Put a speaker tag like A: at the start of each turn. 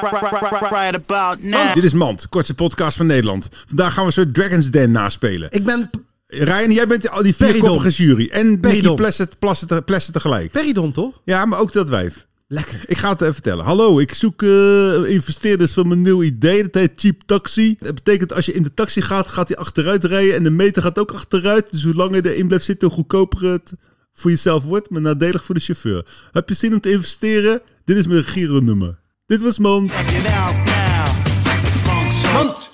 A: Right about now.
B: Oh, Dit is Mand, kortste podcast van Nederland. Vandaag gaan we een soort Dragon's Den naspelen.
C: Ik ben P-
B: Ryan, jij bent al die
C: Peridon.
B: vierkoppige jury. En Nicky
C: Peridon.
B: Plessen, Plessen, Plessen tegelijk.
C: Peridon, toch?
B: Ja, maar ook dat wijf.
C: Lekker.
B: Ik ga het even vertellen. Hallo, ik zoek eh, investeerders voor mijn nieuw idee. Dat heet Cheap Taxi. Dat betekent als je in de taxi gaat, gaat hij achteruit rijden. En de meter gaat ook achteruit. Dus hoe langer je erin blijft zitten, hoe goedkoper het voor jezelf wordt. Maar nadelig voor de chauffeur. Heb je zin om te investeren? Dit is mijn Giro-nummer. Dit was Mand.
A: Check it out now. Funk soul.